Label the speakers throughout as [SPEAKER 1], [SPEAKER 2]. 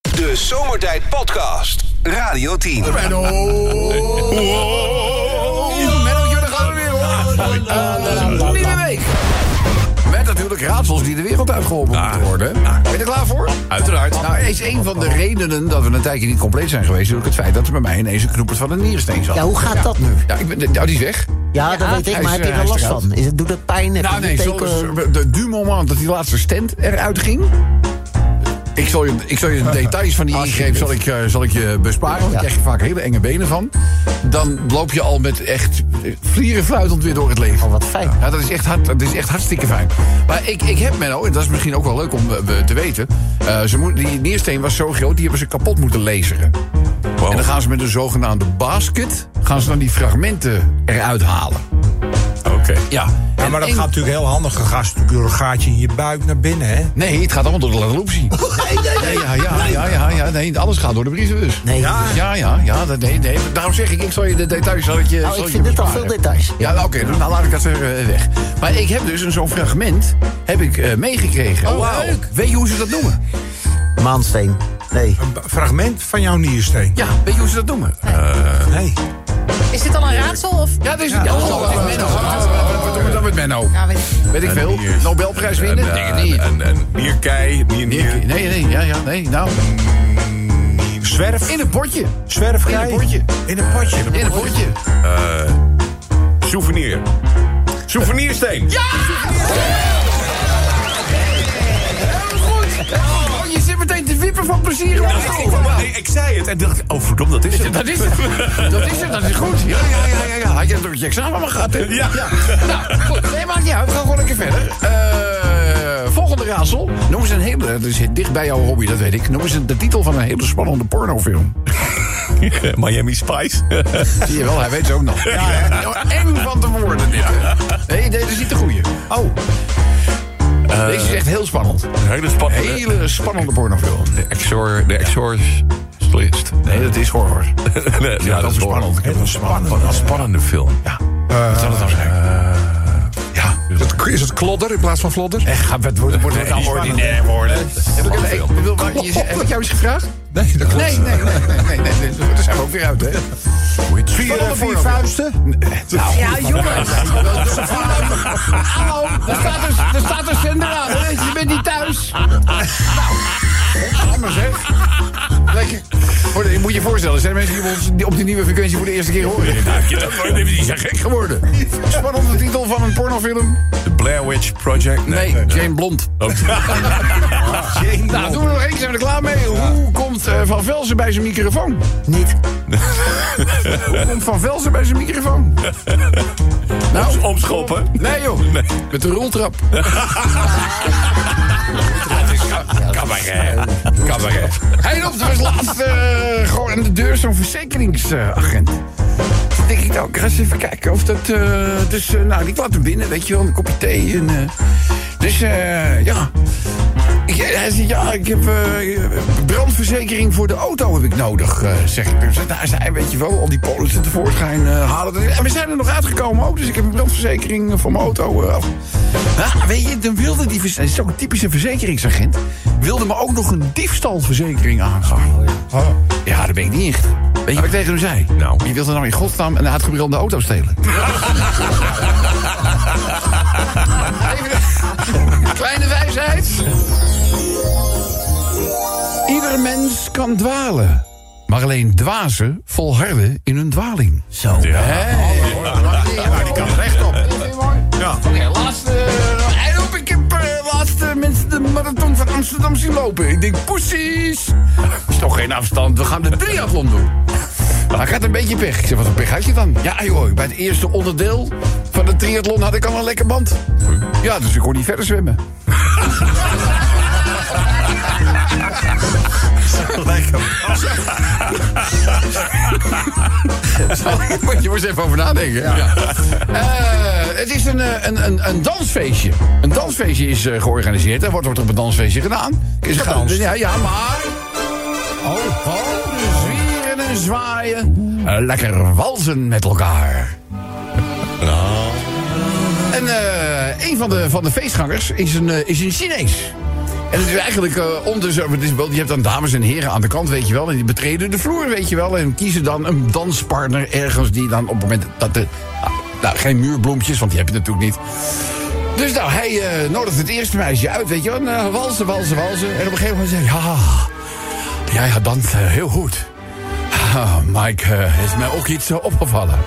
[SPEAKER 1] De Zomertijd Podcast. Radio 10.
[SPEAKER 2] Menno. Ja, Menno, daar gaan we weer hoor. Eh, Nieuwe week. Met natuurlijk raadsels die de wereld uitgeholpen moeten worden. Ben je er klaar voor?
[SPEAKER 3] Uiteraard.
[SPEAKER 2] Nou, is een van de redenen dat we een tijdje niet compleet zijn geweest... natuurlijk het feit dat er bij mij ineens een knoepert van een niersteen zat.
[SPEAKER 4] Ja, hoe gaat dat nu?
[SPEAKER 2] Ja, ik ben, nou, die is weg.
[SPEAKER 4] Ja, dat weet
[SPEAKER 2] hij
[SPEAKER 4] ik, maar
[SPEAKER 2] is,
[SPEAKER 4] heb je
[SPEAKER 2] eh,
[SPEAKER 4] er
[SPEAKER 2] hij
[SPEAKER 4] last
[SPEAKER 2] is eruit.
[SPEAKER 4] van? Is het, doet het pijn? Heb
[SPEAKER 2] Nou
[SPEAKER 4] je
[SPEAKER 2] nee, zo,
[SPEAKER 4] teken-
[SPEAKER 2] de, du moment dat die laatste stand eruit ging... Ik zal, je, ik zal je de details van die ingreep zal ik, eh, zal ik je besparen. want Daar krijg je vaak hele enge benen van. Dan loop je al met echt eh, vlierenfluitend weer door het leven.
[SPEAKER 4] Oh, wat fijn.
[SPEAKER 2] Ja, dat is echt, hard, dat is echt hartstikke fijn. Maar ik, ik heb Menno, en dat is misschien ook wel leuk om eh, te weten... eh, ze moet, die niersteen was zo groot, die hebben ze kapot moeten laseren. En dan gaan ze met een zogenaamde basket... gaan ze dan die fragmenten eruit halen.
[SPEAKER 3] Oké.
[SPEAKER 2] Ja,
[SPEAKER 5] Ja, maar dat gaat natuurlijk heel handig. Dan gaat ze natuurlijk door een gaatje in je buik naar binnen, hè?
[SPEAKER 2] Nee, het gaat allemaal door de laroepsie. Nee, nee, nee. Ja, ja, ja, ja, ja, nee, alles gaat door de brievenbus.
[SPEAKER 4] Nee.
[SPEAKER 2] Ja, ja, ja, ja dat, nee, nee. Daarom zeg ik, ik zal je de details... Zal ik je,
[SPEAKER 4] Nou,
[SPEAKER 2] zal je
[SPEAKER 4] ik vind dit al
[SPEAKER 2] besparen.
[SPEAKER 4] veel details.
[SPEAKER 2] Ja, nou, oké, dan laat ik dat er eh, weg. Maar ik heb dus een zo'n fragment heb ik, eh, meegekregen.
[SPEAKER 4] Oh, wauw.
[SPEAKER 2] Leuk. Weet je hoe ze dat noemen?
[SPEAKER 4] Maansteen. Nee.
[SPEAKER 5] Een b- fragment van jouw niersteen.
[SPEAKER 2] Ja, weet je hoe ze dat noemen?
[SPEAKER 5] Nee.
[SPEAKER 6] Is dit al een raadsel? Of...
[SPEAKER 2] Ja, dat is ja, oh, dat is al- dat is Menno. Wat doen we dan met Menno?
[SPEAKER 6] Ja, weet ik.
[SPEAKER 2] Weet ik veel.
[SPEAKER 3] Hier is-
[SPEAKER 2] Nobelprijs winnen?
[SPEAKER 3] Een,
[SPEAKER 2] Denk het
[SPEAKER 3] eh,
[SPEAKER 2] niet.
[SPEAKER 3] Een, een bierkei, bier,
[SPEAKER 2] Nee,
[SPEAKER 3] bier.
[SPEAKER 2] nee, nee, ja, ja, nee, nou.
[SPEAKER 5] Zwerf.
[SPEAKER 2] In een potje.
[SPEAKER 5] Zwerfgei.
[SPEAKER 2] in een potje.
[SPEAKER 5] In een potje.
[SPEAKER 2] In een potje.
[SPEAKER 3] Souvenir. Souvenirsteen. Ja!
[SPEAKER 2] Oh, je zit meteen te wippen van plezier.
[SPEAKER 3] ik, ik- ik- ik zei het en dacht, oh verdomme, dat is het.
[SPEAKER 2] Dat is het. Dat is het, dat is goed. Ja, ja, ja, ja. ja. Had je het door je examen maar gehad, hè?
[SPEAKER 3] Ja.
[SPEAKER 2] Nou, goed. Nee, maakt niet uit. We gaan gewoon lekker verder. Eh, volgende raadsel. Noem eens een hele... Dat is dicht bij jouw hobby, dat weet ik. Noem eens een- de titel van een hele spannende pornofilm.
[SPEAKER 3] Miami Spice.
[SPEAKER 2] Zie je wel, hij weet ze ook nog. Ja, hè? Nou, eng van te worden, dit. hè. Nee, nee, dat is niet de goeie. Oh. Eh. Deze is echt heel spannend.
[SPEAKER 3] Een hele spannende.
[SPEAKER 2] Hele spannende pornofilm.
[SPEAKER 3] De Exor... De Exorcist.
[SPEAKER 2] Nee, dat is horror.
[SPEAKER 3] Nee, ja,
[SPEAKER 2] dat is
[SPEAKER 3] hoor-
[SPEAKER 2] spannend.
[SPEAKER 3] Wat Een spannende, wat een spannende film. Ja.
[SPEAKER 7] Eh,
[SPEAKER 2] Wat zal het dan zijn?
[SPEAKER 3] ja.
[SPEAKER 5] Is het klodder in plaats van vlodder?
[SPEAKER 2] Echt, gaat het wordt, wordt het nou ordinair worden. Heb ik, heb ik, wil- maar je- heb ik jou eens gevraagd?
[SPEAKER 5] Nee, dat klopt.
[SPEAKER 2] Nee, nee, nee, nee, nee, nee, nee. Daar zijn we ook weer uit, hè?
[SPEAKER 5] Vier,
[SPEAKER 2] Spannende
[SPEAKER 5] vier
[SPEAKER 2] voorbeeld.
[SPEAKER 5] vuisten?
[SPEAKER 6] Ja, jongens.
[SPEAKER 2] Hallo, er staat een, er staat een zender aan, hè? Je bent niet thuis. Nou, anders, hè? Lekker. Hoor, je moet je voorstellen, er zijn mensen die ons die op die nieuwe frequentie voor de eerste keer horen.
[SPEAKER 3] Die zijn gek geworden.
[SPEAKER 2] Geworden. Spannende titel van een pornofilm?
[SPEAKER 3] The Blair Witch Project.
[SPEAKER 2] Nee, Jane Blond. Nou, doen we er nog eentje, zijn we er klaar mee. Hoe komt eh, Van Velsen bij zijn microfoon?
[SPEAKER 4] Niet.
[SPEAKER 2] Hoe komt Van Velsen bij zijn microfoon? Nou,
[SPEAKER 3] Omschoppen.
[SPEAKER 2] nee joh,
[SPEAKER 3] Nee.
[SPEAKER 2] met de roltrap.
[SPEAKER 3] Cabaret. Cabaret.
[SPEAKER 2] Hij loopt was laatst eh, gewoon aan de deur zo'n verzekeringsagent. Dan denk ik, nou, ik ga eens even kijken of dat... eh, dus, eh, nou, ik laat hem binnen, weet je wel, een kopje thee. En, eh, dus, eh, ja... Ik, hij zegt, ja, ik heb eh, brandverzekering voor de auto heb ik nodig, eh, zeg ik. Dus hij zei, weet je wel, al die polissen tevoorschijn eh, halen. dat- En we zijn er nog uitgekomen ook, dus ik heb een brandverzekering voor mijn auto. eh, af. Nou, weet je, dan wilde die, verze- het is ook een typische verzekeringsagent, wilde me ook nog een diefstalverzekering aangaan. Ja, daar ben ik niet echt. Weet je wat ik tegen hem zei?
[SPEAKER 3] Nou.
[SPEAKER 2] Je wilt er nou in godsnaam een uitgebrande auto stelen. Even- Kleine wijsheid. Ieder mens kan dwalen. Maar alleen dwazen volharden in hun dwaling.
[SPEAKER 4] Zo.
[SPEAKER 2] Ja, die kan rechtop. Ja. Oké, laatste. En op, ik heb eh, laatste mensen de marathon van Amsterdam zien lopen. Ik denk, poesies. Is toch geen afstand, we gaan de triathlon doen. Maar Hij gaat een beetje pech. Ik zeg, wat een pech had je dan? Ja, joh, bij het eerste onderdeel van de triathlon had ik al een lekker band. Ja, dus ik kon niet verder zwemmen.
[SPEAKER 5] Lekker.
[SPEAKER 2] Daar moet je eens even over nadenken. Eh, het is een, eh, een, een, een dansfeestje. Een dansfeestje is eh, georganiseerd. Er wordt, wordt op een dansfeestje gedaan. Is
[SPEAKER 5] Gedanst.
[SPEAKER 2] Ja, ja, maar... Oh, oh, dus zwieren en zwaaien. Eh, lekker walsen met elkaar. En eh, een van de, van de feestgangers is een, eh, is een Chinees. En het is eigenlijk eh om de zo- het is wel, Je hebt dan dames en heren aan de kant, weet je wel. En die betreden de vloer, weet je wel. En kiezen dan een danspartner ergens die dan op het moment dat de. ah, Nou, geen muurbloempjes, want die heb je natuurlijk niet. Dus nou, hij eh, nodigt het eerste meisje uit, weet je wel. Nou, walsen, walsen, walsen. En op een gegeven moment zegt hij... Ja, jij gaat dansen eh, heel goed. Ah, Mike, eh, is mij ook iets eh, opgevallen.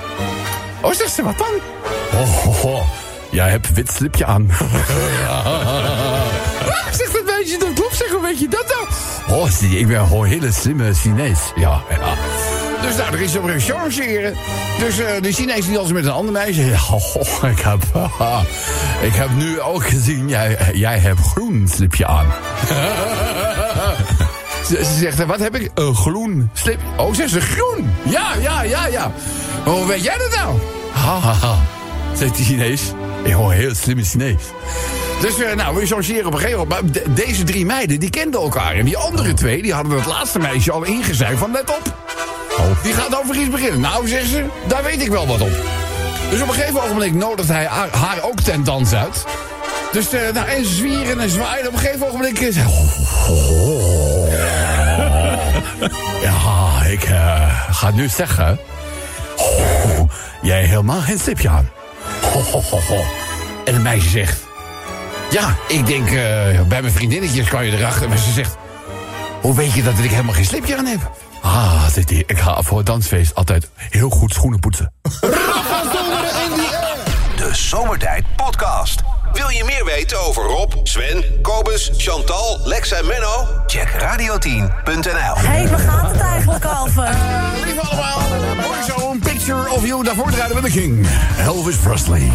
[SPEAKER 2] Oh, zegt ze, wat dan? Oh, oh, oh, jij hebt wit slipje aan. Ah, zegt dat meisje, dat klopt. Zeg, hoe weet je dat nou? Oh, zie, ik ben gewoon een hele slimme Chinees. Ja, ja. Dus nou, er is op een chargeren. Dus eh, de Chinees die als met een ander meisje. Ja, oh, ik heb, haha, ik heb nu ook gezien, jij, jij hebt groen slipje aan. Ze, ze zegt, eh, wat heb ik? Een groen slip. Oh, zegt ze, groen. Ja, ja, ja, ja. Maar Hoe weet jij dat nou? Ha, ha, ha. Zegt die Chinees. Ik hoor heel slimme Chinees. Dus eh, nou, we changeren op een gegeven moment. Maar de- deze drie meiden, die kenden elkaar. En die andere twee, die hadden het laatste meisje al ingezuigd van let op. Die gaat over iets beginnen. Nou, zegt ze, daar weet ik wel wat op. Dus op een gegeven ogenblik nodigt hij haar, haar ook ten dans uit. Dus eh, nou, en ze zwieren en zwaaien. Op een gegeven ogenblik is... "Oh, Ja, ik eh, ga nu zeggen. Oh, jij helemaal geen slipje aan. Ho, ho, ho, ho. En het meisje zegt. Ja, ik denk eh, bij mijn vriendinnetjes kan je erachter. Maar ze zegt. Hoe weet je dat ik helemaal geen slipje aan heb? Ah, zegt hij. Ik ga voor het dansfeest altijd heel goed schoenen poetsen.
[SPEAKER 1] De Zomertijd Podcast. Wil je meer weten over Rob, Sven, Kobus, Chantal, Lex en Menno? Check radio10.nl.
[SPEAKER 8] Hé, hey, waar gaat het eigenlijk over?
[SPEAKER 2] Lieve allemaal, hoor zo een picture of you. Daarvoor draaien we de King, Elvis Presley.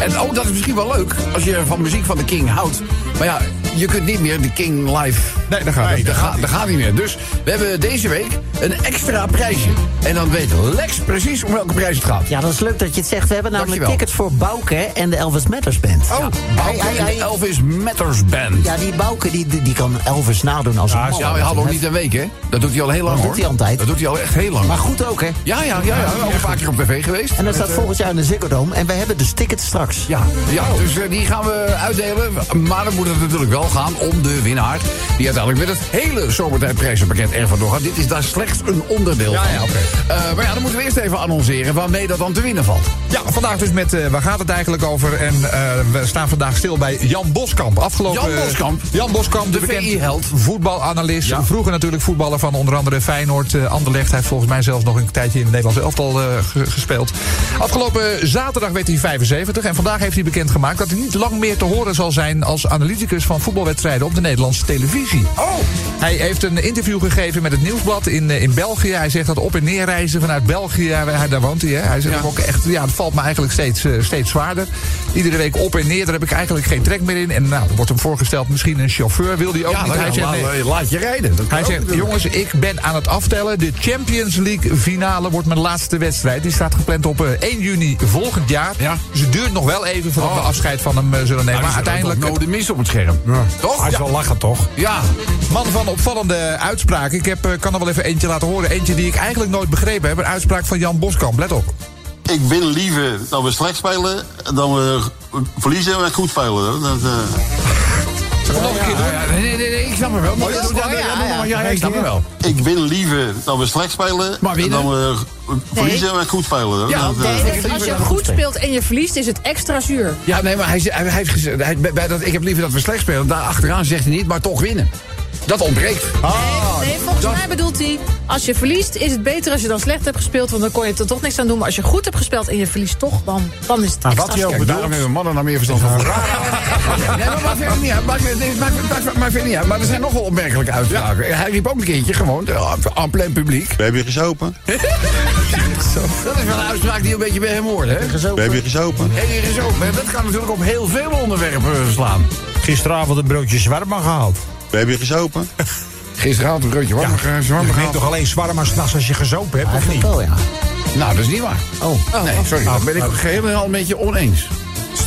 [SPEAKER 2] En ook dat is misschien wel leuk, als je van muziek van de King houdt. Maar ja, je kunt niet meer de King live...
[SPEAKER 5] Nee, daar gaat
[SPEAKER 2] Nee,
[SPEAKER 5] het.
[SPEAKER 2] dat, gaat, dat gaat niet meer. Dus we hebben deze week een extra prijsje. En dan weet Lex precies om welke prijs het gaat.
[SPEAKER 4] Ja, dat is leuk dat je het zegt. We hebben namelijk
[SPEAKER 2] Dankjewel.
[SPEAKER 4] tickets voor Bouke en de Elvis Matters Band.
[SPEAKER 2] Oh,
[SPEAKER 4] Hij- hij-
[SPEAKER 2] en
[SPEAKER 4] hij-
[SPEAKER 2] de Elvis Matters Band.
[SPEAKER 4] Ja, die Bouke die, die, die kan Elvis nadoen als
[SPEAKER 5] Ah,
[SPEAKER 4] een man.
[SPEAKER 2] Ja, hallo, niet een week, hè? Dat doet hij al heel lang,
[SPEAKER 4] Dat
[SPEAKER 2] hoor.
[SPEAKER 4] doet hij altijd.
[SPEAKER 2] Dat doet hij al echt heel lang.
[SPEAKER 4] Maar goed ook, hè?
[SPEAKER 2] Ja, ja, ja, ja. Al een paar keer op tv geweest.
[SPEAKER 4] En dat staat volgend jaar in de Ziggo Dome. En wij hebben dus tickets straks.
[SPEAKER 2] Ja, ja dus eh, die gaan we uitdelen. Maar dan moet het natuurlijk wel gaan om de winnaar. Die uiteindelijk met het hele zomertijdprijzenpakket er vandoor gaat. Dit is daar slechts een onderdeel van.
[SPEAKER 5] ja, oké.
[SPEAKER 2] Eh, maar ja, dan moeten we eerst even annonceren waarmee dat dan te winnen valt.
[SPEAKER 5] Ja, vandaag dus met eh, waar gaat het eigenlijk over? En eh, we staan vandaag stil bij Jan Boskamp. Afgelopen,
[SPEAKER 2] Jan Boskamp?
[SPEAKER 5] Jan Boskamp, de,
[SPEAKER 2] De
[SPEAKER 5] bekende
[SPEAKER 2] VI-held.
[SPEAKER 5] voetbalanalist.
[SPEAKER 2] Ja.
[SPEAKER 5] Vroeger natuurlijk voetballer van onder andere Feyenoord, eh Anderlecht. Hij heeft volgens mij zelfs nog een tijdje in het Nederlands elftal eh, ge- gespeeld. Afgelopen zaterdag werd hij 75. En vandaag heeft hij bekendgemaakt dat hij niet lang meer te horen zal zijn... als analyticus van voetbalwedstrijden op de Nederlandse televisie. Hij heeft een interview gegeven met het Nieuwsblad in, eh, in België. Hij zegt dat op- en neerreizen vanuit België, ja, waar hij, daar woont hij. Hè? Hij zegt ook echt, ja, het valt me eigenlijk steeds, eh, steeds zwaarder. Iedere week op en neer, daar heb ik eigenlijk geen trek meer in. En nou, er wordt hem voorgesteld, misschien een chauffeur wil hij ook niet. Hij zegt,
[SPEAKER 2] laat,
[SPEAKER 5] nee.
[SPEAKER 2] laat je rijden. Dat kan
[SPEAKER 5] Hij
[SPEAKER 2] ook
[SPEAKER 5] zegt,
[SPEAKER 2] natuurlijk.
[SPEAKER 5] jongens, ik ben aan het aftellen. De Champions League finale wordt mijn laatste wedstrijd. Die staat gepland op eh, 1 juni volgend jaar.
[SPEAKER 2] Ja.
[SPEAKER 5] Dus het duurt nog wel even voordat
[SPEAKER 2] Oh.
[SPEAKER 5] we afscheid van hem eh, zullen nemen.
[SPEAKER 2] Maar
[SPEAKER 5] Maar uiteindelijk...
[SPEAKER 2] Nog de mis op het scherm. Toch?
[SPEAKER 5] Hij
[SPEAKER 2] ja.
[SPEAKER 5] is wel lachen, toch?
[SPEAKER 2] Ja.
[SPEAKER 5] Man van opvallende uitspraken. Ik heb, eh, kan er wel even eentje laten horen. Eentje die ik eigenlijk nooit begrepen heb. Een uitspraak van Jan Boskamp. Let op.
[SPEAKER 9] Ik ben liever dat we slecht spelen dan we verliezen en goed spelen. hoor. Dat, eh,
[SPEAKER 5] Zeg nog een keer doen.
[SPEAKER 2] Oh, Ja, nee, nee, nee, ik snap hem wel. Maar,
[SPEAKER 4] Ja, dat is
[SPEAKER 2] ja,
[SPEAKER 4] waar,
[SPEAKER 2] ja,
[SPEAKER 4] ja,
[SPEAKER 2] ja,
[SPEAKER 4] ja.
[SPEAKER 2] maar ja, ja, ik snap hem wel.
[SPEAKER 9] ik ben liever dat we slecht spelen
[SPEAKER 2] Maar winnen?
[SPEAKER 9] dan we verliezen en goed spelen. hoor.
[SPEAKER 2] Ja,
[SPEAKER 9] Dat, eh,
[SPEAKER 2] nee.
[SPEAKER 6] Nee, dat- als je goed speelt en je verliest, is het extra zuur.
[SPEAKER 2] Ja, nee, maar hij, ze- hij, hij heeft gezegd... Hij, bij- bij dat, ik heb liever dat we slecht spelen. Daar achteraan zegt hij niet, maar toch winnen. Dat ontbreekt.
[SPEAKER 6] Nee, volgens
[SPEAKER 2] Oh, dat-
[SPEAKER 6] mij bedoelt hij, als je verliest, is het beter als je dan slecht hebt gespeeld. Want dan kon je er toch niks aan doen. Maar als je goed hebt gespeeld en je verliest toch, dan, dan is het extra
[SPEAKER 2] Kijk,
[SPEAKER 6] zuur.
[SPEAKER 2] daarom hebben mannen nou meer verstand van voetbal. Nee, maar maakt verder niet uit. Maakt maakt- maakt- maakt- maakt verder niet uit. Maar er zijn nogal opmerkelijke uitspraken. Hij riep ook een keertje gewoon, eh, aan plein publiek.
[SPEAKER 9] We hebben je gezopen.
[SPEAKER 2] Dat is wel een uitspraak die een beetje bij hem hoort, hè?
[SPEAKER 9] We hebben je gezopen.
[SPEAKER 2] En hier is ook, hè, dat kan natuurlijk op heel veel onderwerpen slaan.
[SPEAKER 5] Gisteravond een broodje zwarma gehaald.
[SPEAKER 9] We hebben je gezopen.
[SPEAKER 2] Gisteravond een broodje warm, ja. warm
[SPEAKER 5] Je neemt toch alleen zwarma s'nachts als je gezopen hebt, of
[SPEAKER 4] Eigenlijk
[SPEAKER 5] niet?
[SPEAKER 4] wel, ja.
[SPEAKER 2] Nou, dat is niet waar.
[SPEAKER 4] Oh.
[SPEAKER 2] nee, sorry, daar ben ik geheel en al een beetje oneens.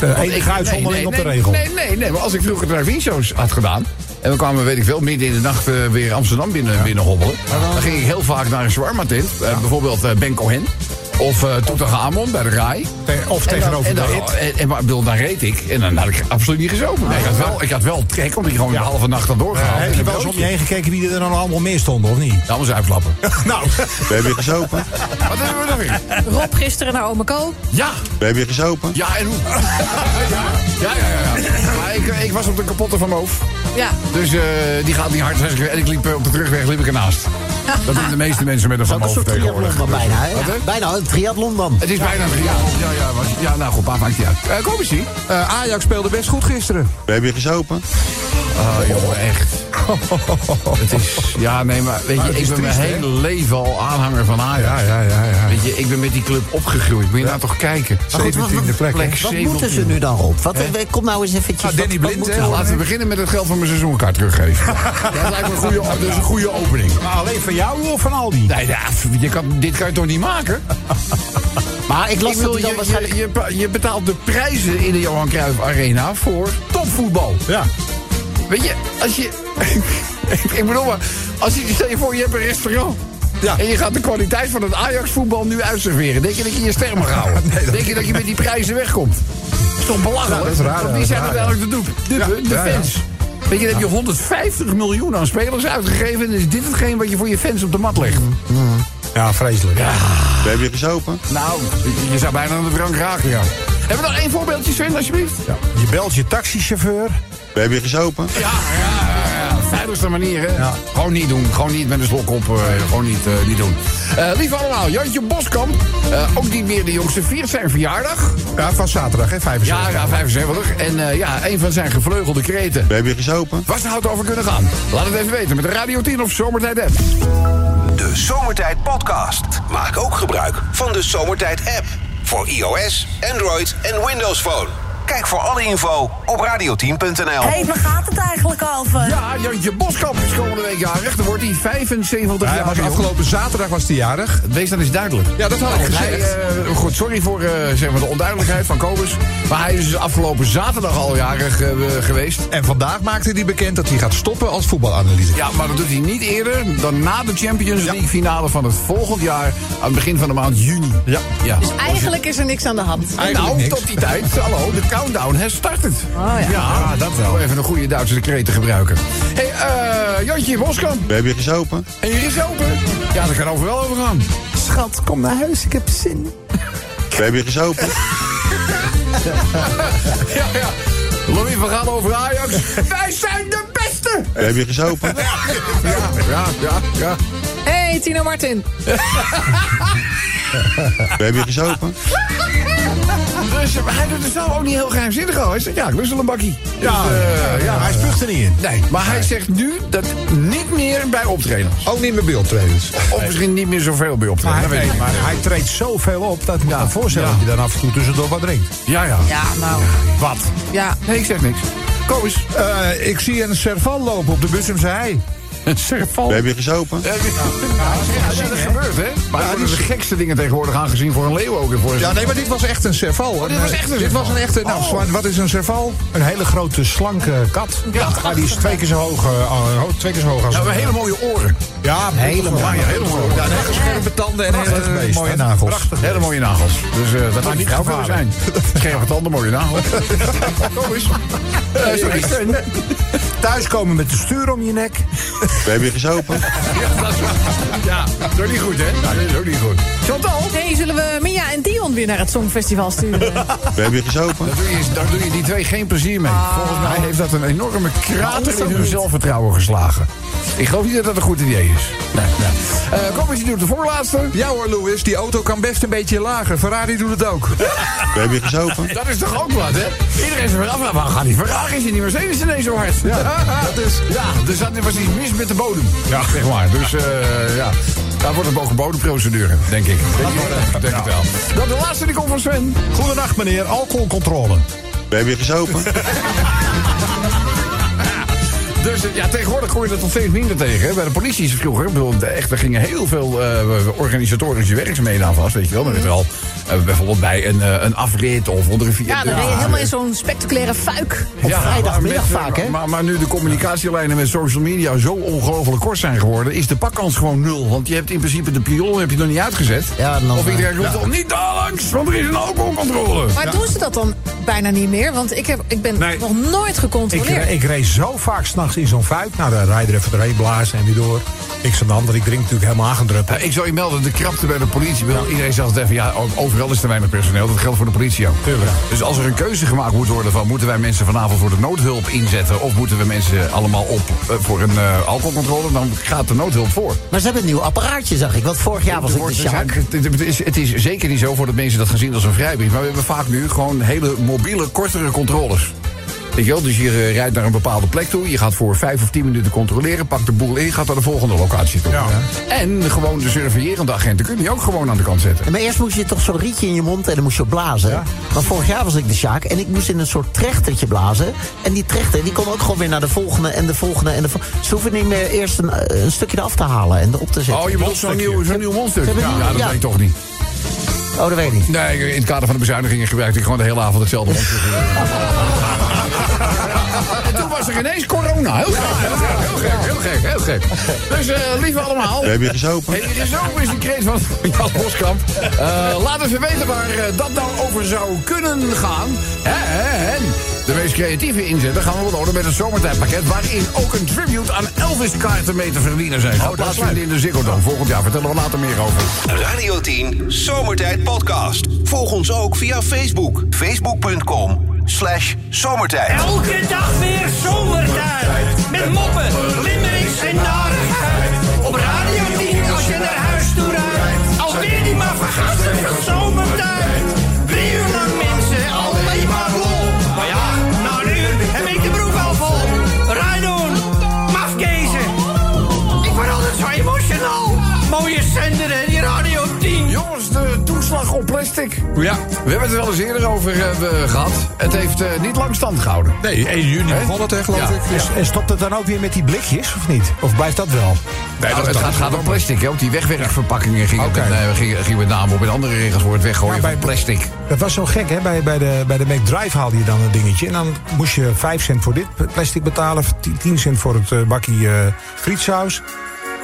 [SPEAKER 2] Want ik- nee, nee, nee, Nee, nee, nee, maar als ik vroeger drive-in-shows had gedaan... en we kwamen, weet ik veel, midden in de nacht eh, weer Amsterdam binnen, binnen hobbelen... dan ging ik heel vaak naar een shawarma-tent. eh, bijvoorbeeld eh Ben Cohen. Of eh Toetangamon bij de RAI.
[SPEAKER 3] Te- Of
[SPEAKER 2] En dan,
[SPEAKER 3] tegenover
[SPEAKER 2] en
[SPEAKER 3] de
[SPEAKER 2] dan,
[SPEAKER 3] rit.
[SPEAKER 2] en, en- maar, ik bedoel, dan reed ik en dan had ik absoluut niet gezopen. Nee, ik, had wel, ik had wel trek, omdat ik gewoon de halve nacht had doorgehaald.
[SPEAKER 7] Heb je wel eens om je heen gekeken wie er dan allemaal meer stonden, of niet?
[SPEAKER 2] Dames uitlappen.
[SPEAKER 7] Nou,
[SPEAKER 9] We hebben je gezopen.
[SPEAKER 2] Wat hebben we nog weer?
[SPEAKER 6] Rob gisteren naar Ome Ko.
[SPEAKER 2] Ja,
[SPEAKER 9] We hebben je gezopen.
[SPEAKER 2] ja en hoe? ja, ja, ja. ja. Maar ik, eh, ik was op de kapotte van mijn hoofd.
[SPEAKER 6] Ja.
[SPEAKER 2] Dus eh, die gaat niet hard. Dus ik- En ik liep eh, op de terugweg liep ik ernaast. Dat doen de meeste mensen met een van
[SPEAKER 4] Een
[SPEAKER 2] hoofd
[SPEAKER 4] soort
[SPEAKER 2] tegenwoordig.
[SPEAKER 4] triathlon dan bijna, hè?
[SPEAKER 2] Wat, hè?
[SPEAKER 4] Ja, Bijna een triathlon dan.
[SPEAKER 2] Het is bijna een ja, ja, ja, was, ja, nou goed, maar maakt niet uit. Eh, kom eens hier.
[SPEAKER 5] Eh, Ajax speelde best goed gisteren.
[SPEAKER 9] We hebben je gezopen.
[SPEAKER 5] Ah,
[SPEAKER 2] Oh, jongen, echt. het is, ja, nee, maar weet
[SPEAKER 5] Ah,
[SPEAKER 2] je, ik ben mijn hele leven al aanhanger van Ajax.
[SPEAKER 5] ja, ja. ja.
[SPEAKER 2] Weet je, ik ben met die club opgeplekt. Moet je nou toch kijken.
[SPEAKER 5] Maar goed, wat- 17e plek, hè?
[SPEAKER 2] plek
[SPEAKER 4] Wat moeten ze
[SPEAKER 2] 17e.
[SPEAKER 4] nu dan, Rob? Wat, kom nou eens eventjes...
[SPEAKER 5] Ah,
[SPEAKER 4] wat-
[SPEAKER 5] Danny
[SPEAKER 4] wat
[SPEAKER 5] Blind,
[SPEAKER 4] moeten
[SPEAKER 5] hè?
[SPEAKER 4] we-
[SPEAKER 2] Nou, laten we beginnen met het geld van mijn seizoenkaart teruggeven. dat lijkt me een goede, dat is een goede opening.
[SPEAKER 7] maar alleen van jou of van Aldi?
[SPEAKER 2] Nee, ja, je kan, dit kan je toch niet maken?
[SPEAKER 4] Maar ik las
[SPEAKER 2] Ik wil,
[SPEAKER 4] dat hij
[SPEAKER 2] je,
[SPEAKER 4] dan waarschijnlijk...
[SPEAKER 2] je, je, pa- je betaalt de prijzen in de Johan Cruijff Arena voor topvoetbal.
[SPEAKER 7] Ja.
[SPEAKER 2] Weet je, als je... ik bedoel maar, als je, stel je voor, je hebt een restaurant.
[SPEAKER 7] Ja.
[SPEAKER 2] En je gaat de kwaliteit van het Ajax-voetbal nu uitserveren. Denk je dat je je ster mag houden? Denk je dat je met die prijzen wegkomt? Dat is toch belachelijk?
[SPEAKER 5] dat is raar,
[SPEAKER 2] Want
[SPEAKER 5] dat
[SPEAKER 2] Wie
[SPEAKER 5] is
[SPEAKER 2] zijn
[SPEAKER 5] raar,
[SPEAKER 2] uiteindelijk de dupe? De, de
[SPEAKER 5] ja, ja.
[SPEAKER 2] fans. Weet je, dan heb je 150 miljoen aan spelers uitgegeven... en is dit hetgeen wat je voor je fans op de mat legt?
[SPEAKER 7] Ja, vreselijk. Ja.
[SPEAKER 9] We hebben je gezopen.
[SPEAKER 2] Nou, je- je zou bijna aan de drank raken, ja. Hebben we nog één voorbeeldje, Sven, alsjeblieft?
[SPEAKER 7] Je belt je taxichauffeur.
[SPEAKER 9] We hebben je gezopen.
[SPEAKER 2] Ja, ja, ja, ja. Veiligste manier, hè?
[SPEAKER 7] Ja.
[SPEAKER 2] Gewoon niet doen. Gewoon niet met een slok op. eh, gewoon niet, eh, niet doen. Eh lieve allemaal, Jantje Boskamp. eh, ook niet meer de jongste. Viert zijn verjaardag.
[SPEAKER 5] Ja, van zaterdag, hè?
[SPEAKER 2] Ja,
[SPEAKER 5] 75.
[SPEAKER 2] ja, 75. En eh, ja, een van zijn gevleugelde kreten.
[SPEAKER 9] We hebben je gezopen.
[SPEAKER 2] Waar zou het over kunnen gaan? Laat het even weten met de Radio 10 of Zomertijd app.
[SPEAKER 1] De Zomertijd Podcast. Maak ook gebruik van de Zomertijd app. Voor iOS, Android en Windows Phone. Kijk voor alle info op radio10.nl.
[SPEAKER 8] Hé, maar gaat het eigenlijk over?
[SPEAKER 2] Ja, Jantje Boskamp is komende week jarig. Dan wordt hij 75
[SPEAKER 5] Hij
[SPEAKER 2] jaar
[SPEAKER 5] was
[SPEAKER 2] jong.
[SPEAKER 5] afgelopen zaterdag was hij jarig.
[SPEAKER 2] Wees dan eens duidelijk.
[SPEAKER 5] Ja, dat had ik
[SPEAKER 2] Hij,
[SPEAKER 5] gezegd.
[SPEAKER 2] eh, goed, sorry voor eh, zeg maar de onduidelijkheid van Kobus. Maar hij is dus afgelopen zaterdag al jarig eh, geweest.
[SPEAKER 5] En vandaag maakte hij bekend dat hij gaat stoppen als voetbalanalyse.
[SPEAKER 2] Ja, maar dat doet hij niet eerder dan na de Champions League finale van het volgend jaar. Aan het begin van de maand juni.
[SPEAKER 5] Ja.
[SPEAKER 2] ja.
[SPEAKER 6] Dus eigenlijk is er niks aan de hand.
[SPEAKER 2] En
[SPEAKER 5] eigenlijk
[SPEAKER 2] nou,
[SPEAKER 5] niks.
[SPEAKER 2] tot die tijd, hallo, de countdown has started.
[SPEAKER 6] ja.
[SPEAKER 2] dat wel. Even een goede Duitse decreet te gebruiken. Hé, hey, eh, Jantje Boskamp,
[SPEAKER 9] We hebben je gezopen.
[SPEAKER 2] en hier is open. Ja, dat kan overal over gaan.
[SPEAKER 7] Schat, kom naar huis, ik heb zin.
[SPEAKER 9] We hebben je gezopen.
[SPEAKER 2] Ja, ja. Louis van Gaal over Ajax. Wij zijn de beste!
[SPEAKER 9] We hebben je gezopen.
[SPEAKER 2] Ja, ja, ja, ja.
[SPEAKER 6] hey, Tino Martin.
[SPEAKER 9] We hebben je gezopen.
[SPEAKER 2] Dus eh, hij doet het zelf ook niet heel geheimzinnig al. Hij zegt, ja, ik lust wel een bakkie.
[SPEAKER 7] Ja, ja, hij spuugt er niet in.
[SPEAKER 2] Nee, maar hij zegt nu dat niet meer bij optredens.
[SPEAKER 5] Ook niet meer beeldtredens.
[SPEAKER 2] Of misschien niet meer zoveel bij
[SPEAKER 7] Maar
[SPEAKER 2] optredens.
[SPEAKER 7] hij,
[SPEAKER 2] dat weet ik
[SPEAKER 7] nee,
[SPEAKER 2] niet.
[SPEAKER 7] maar hij treedt zoveel op dat ik me kan voorstellen
[SPEAKER 2] Ja.
[SPEAKER 7] dat je dan af en toe tussendoor wat drinkt.
[SPEAKER 2] Ja, ja.
[SPEAKER 6] Ja, nou.
[SPEAKER 7] Wat?
[SPEAKER 6] Ja.
[SPEAKER 2] Nee, ik zeg niks. Koos.
[SPEAKER 5] Eh, ik zie een serval lopen op de Bussumse hei.
[SPEAKER 2] Serval.
[SPEAKER 9] We hebben je gezopen.
[SPEAKER 2] Ja, ja, dat gebeurt, hè? Maar er worden de gekste dingen tegenwoordig aangezien voor een leeuw ook. en Voor een
[SPEAKER 5] Ja, nee, maar dit was echt een serval.
[SPEAKER 2] dit was echt een
[SPEAKER 5] Oh, Dit
[SPEAKER 2] serval.
[SPEAKER 5] was een echte... Nou, Swan, wat is een serval?
[SPEAKER 7] Een hele grote, slanke kat.
[SPEAKER 2] Ja.
[SPEAKER 7] Maar die is twee keer zo hoog, eh, oh, ho- twee keer zo hoog als...
[SPEAKER 2] Ja, maar hele mooie oren.
[SPEAKER 7] Ja, helemaal.
[SPEAKER 2] ja, hele mooie oren.
[SPEAKER 5] eh, Ja, een hele scherpe tanden en
[SPEAKER 7] Prachtig
[SPEAKER 5] hele eh,
[SPEAKER 7] beest,
[SPEAKER 5] mooie
[SPEAKER 7] hè?
[SPEAKER 5] nagels.
[SPEAKER 7] Prachtig.
[SPEAKER 2] Hele mooie nagels. Dus eh, dat gaat niet gauw willen zijn. Scherpe tanden, mooie nagels. Kom eens. Eh, sorry, Steun.
[SPEAKER 7] Thuiskomen met de stuur om je nek.
[SPEAKER 9] We hebben je gezopen.
[SPEAKER 2] Ja, dat is waar. Ja, dat is niet goed, hè? dat is ook niet goed. Chantal?
[SPEAKER 6] Nee, zullen we Mia en Dion weer naar het Songfestival sturen?
[SPEAKER 9] We hebben je gezopen.
[SPEAKER 2] Daar doe, je, daar doe je die twee geen plezier mee. Volgens mij heeft dat een enorme krater in hun zelfvertrouwen geslagen. Ik geloof niet dat dat een goed idee is. Nee, nee. Eh, kom eens, je doet de voorlaatste.
[SPEAKER 5] Ja hoor, Louis, die auto kan best een beetje lager. Ferrari doet het ook.
[SPEAKER 9] We hebben je gezopen.
[SPEAKER 2] Dat is toch ook wat, hè? Iedereen is er weer af. Nou, Waarom gaat die Ferrari en die Mercedes ineens zo hard? Ja, dat is... ja dus dat was iets mis met de bodem. Ja, zeg maar. Dus eh, ja, daar wordt een bodemprocedure, denk ik. Denk, ik, denk het wel. Dan de laatste die komt van Sven.
[SPEAKER 7] Goedenacht meneer, alcoholcontrole.
[SPEAKER 9] We hebben je gezopen.
[SPEAKER 2] De Dus eh, ja, tegenwoordig kom je dat nog steeds minder tegen. hè. Bij de politie is het vroeger. Ik bedoel, de- echt, er gingen heel veel eh, organisatorische werkzaamheden aan vast. Weet je wel. Dan werd er al eh, bijvoorbeeld bij een, eh, een afrit of onder een
[SPEAKER 6] Ja,
[SPEAKER 2] viaduct.
[SPEAKER 6] dan ben je helemaal in zo'n spectaculaire fuik.
[SPEAKER 4] Op
[SPEAKER 2] Ja,
[SPEAKER 4] vrijdagmiddag
[SPEAKER 2] maar met, eh,
[SPEAKER 4] vaak, hè?
[SPEAKER 2] Maar, maar nu de communicatielijnen met social media zo ongelooflijk kort zijn geworden, is de pakkans gewoon nul. Want je hebt in principe de pion heb je nog niet uitgezet.
[SPEAKER 4] Ja, dan,
[SPEAKER 2] of
[SPEAKER 4] eh,
[SPEAKER 2] iedereen roept al niet daar langs, want er is een alcoholcontrole.
[SPEAKER 6] Maar doen ze dat dan bijna niet meer? Want ik, heb, ik ben
[SPEAKER 7] Nee.
[SPEAKER 6] nog nooit
[SPEAKER 7] Ik, eh,
[SPEAKER 6] gecontroleerd.
[SPEAKER 7] ik reed zo vaak s'nachts in zo'n fuik. Nou, dan rij je er even doorheen blazen en weer door. Niks aan de hand, want ik drink natuurlijk helemaal aangedrukt.
[SPEAKER 2] Nou, ik zou je melden, de krapte bij de politie. Wil Iedereen zegt altijd even, ja, ook overal is te weinig personeel. Dat geldt voor de politie ook.
[SPEAKER 7] Tuurlijk.
[SPEAKER 2] Dus als er een keuze gemaakt moet worden van... moeten wij mensen vanavond voor de noodhulp inzetten... of moeten we mensen allemaal op eh, voor een eh, alcoholcontrole... dan gaat de noodhulp voor.
[SPEAKER 4] Maar ze hebben een nieuw apparaatje, zag ik. Want vorig jaar was
[SPEAKER 2] Er
[SPEAKER 4] ik de
[SPEAKER 2] wordt-
[SPEAKER 4] Sjaak.
[SPEAKER 2] het, het- het is, het is zeker niet zo voor dat mensen dat gaan zien als een vrijbrief. Maar we hebben vaak nu gewoon hele mobiele, kortere controles. Weet je wel, dus je eh, rijdt naar een bepaalde plek toe. Je gaat voor vijf of tien minuten controleren. Pakt de boel in, gaat naar de volgende locatie toe. En gewoon de surveillerende agenten kun je ook gewoon aan de kant zetten.
[SPEAKER 4] Maar eerst moest je toch zo'n rietje in je mond en dan moest je blazen. Want vorig jaar was ik de Sjaak en ik moest in een soort trechtertje blazen. En die trechter die kon ook gewoon weer naar de volgende en de volgende. En de vol- Ze hoeven niet meer eerst een, eh, een stukje eraf te halen en erop te zetten.
[SPEAKER 2] Oh, je bedoelt zo'n nieuw, zo'n nieuw monster.
[SPEAKER 4] Ze
[SPEAKER 2] Ja,
[SPEAKER 4] hebben die-
[SPEAKER 2] dat
[SPEAKER 4] ja.
[SPEAKER 2] weet ik toch niet.
[SPEAKER 4] Oh, dat weet ik niet.
[SPEAKER 2] Nee, in het kader van de bezuinigingen gebruikte ik gewoon de hele avond hetzelfde monster. En toen was er ineens corona. Heel gek, heel gek, heel gek, heel gek. Dus eh lieve allemaal,
[SPEAKER 9] We hebben je gezopen.
[SPEAKER 2] Hey, Hier is ook eens een kreet van Jan Boskamp. Eh, laat even weten waar eh, dat nou over zou kunnen gaan. En de meest creatieve inzetten gaan we belonen met een zomertijdpakket... waarin ook een tribute aan Elvis-kaarten mee te verdienen zijn. Gaat plaatsvinden in de Ziggo Dome volgend jaar. Vertellen we later meer over.
[SPEAKER 1] Radio 10 Zomertijd Podcast. Volg ons ook via Facebook. Facebook.com slash zomertijd.
[SPEAKER 10] Elke dag weer zomertijd. Met moppen, limmerings en narigheid. Op Radio 10 als je naar huis toe rijdt. Alweer die maar vergastige zomertijd. Drie uur lang mensen, alleen maar lol. Maar ja, na een uur heb ik de broek al vol. Rijdoen, mafkezen. Ik word altijd zo emotional. Mooie zender hè, die Radio 10.
[SPEAKER 2] Jongens, de toeslag op plastic.
[SPEAKER 5] Ja.
[SPEAKER 2] We hebben het er wel eens eerder over eh, gehad. Het heeft eh, niet lang stand gehouden.
[SPEAKER 5] Nee, 1 juni
[SPEAKER 2] Hè?
[SPEAKER 5] begon het, hè, geloof
[SPEAKER 2] Ja.
[SPEAKER 5] ik.
[SPEAKER 7] Dus, en stopt het dan ook weer met die blikjes, of niet? Of blijft dat wel?
[SPEAKER 2] Nee,
[SPEAKER 5] dat-
[SPEAKER 2] Nou, het
[SPEAKER 5] dat
[SPEAKER 2] gaat,
[SPEAKER 5] is
[SPEAKER 2] gaat om plastic. Hè? Op die wegwerkverpakkingen gingen
[SPEAKER 7] Oké.
[SPEAKER 2] het eh, gingen- gingen met name op. In andere regels wordt het weggooien
[SPEAKER 7] Ja, bij-
[SPEAKER 2] van plastic.
[SPEAKER 7] Dat was zo gek, hè? Bij, bij, de, bij de McDrive haalde je dan een dingetje. En dan moest je 5 cent voor dit plastic betalen, 10 10 cent voor het eh, bakkie eh frietsaus.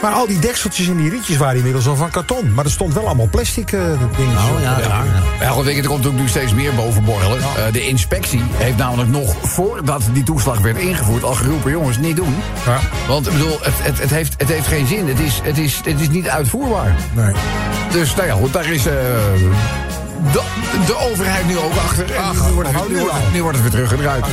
[SPEAKER 7] Maar al die dekseltjes en die rietjes waren inmiddels al van karton. Maar er stond wel allemaal plastic eh, dingetjes.
[SPEAKER 4] Oh
[SPEAKER 7] op.
[SPEAKER 4] ja, raar. ja.
[SPEAKER 2] Ja, goed, weet je, er komt ook nu steeds meer bovenborrelen. Eh, de inspectie heeft namelijk nog voordat die toeslag werd ingevoerd al geroepen: jongens, niet doen.
[SPEAKER 7] Ja.
[SPEAKER 2] Want ik bedoel, het, het, het, heeft, het heeft geen zin. Het is, het, is, het is niet uitvoerbaar.
[SPEAKER 7] Nee.
[SPEAKER 2] Dus nou ja, goed, daar is. eh, de, de overheid nu ook achter. En
[SPEAKER 7] Ach,
[SPEAKER 2] nu, wordt het,
[SPEAKER 7] oh,
[SPEAKER 2] nu,
[SPEAKER 7] nu
[SPEAKER 2] wordt het,
[SPEAKER 7] al.
[SPEAKER 2] nu wordt het weer teruggedraaid.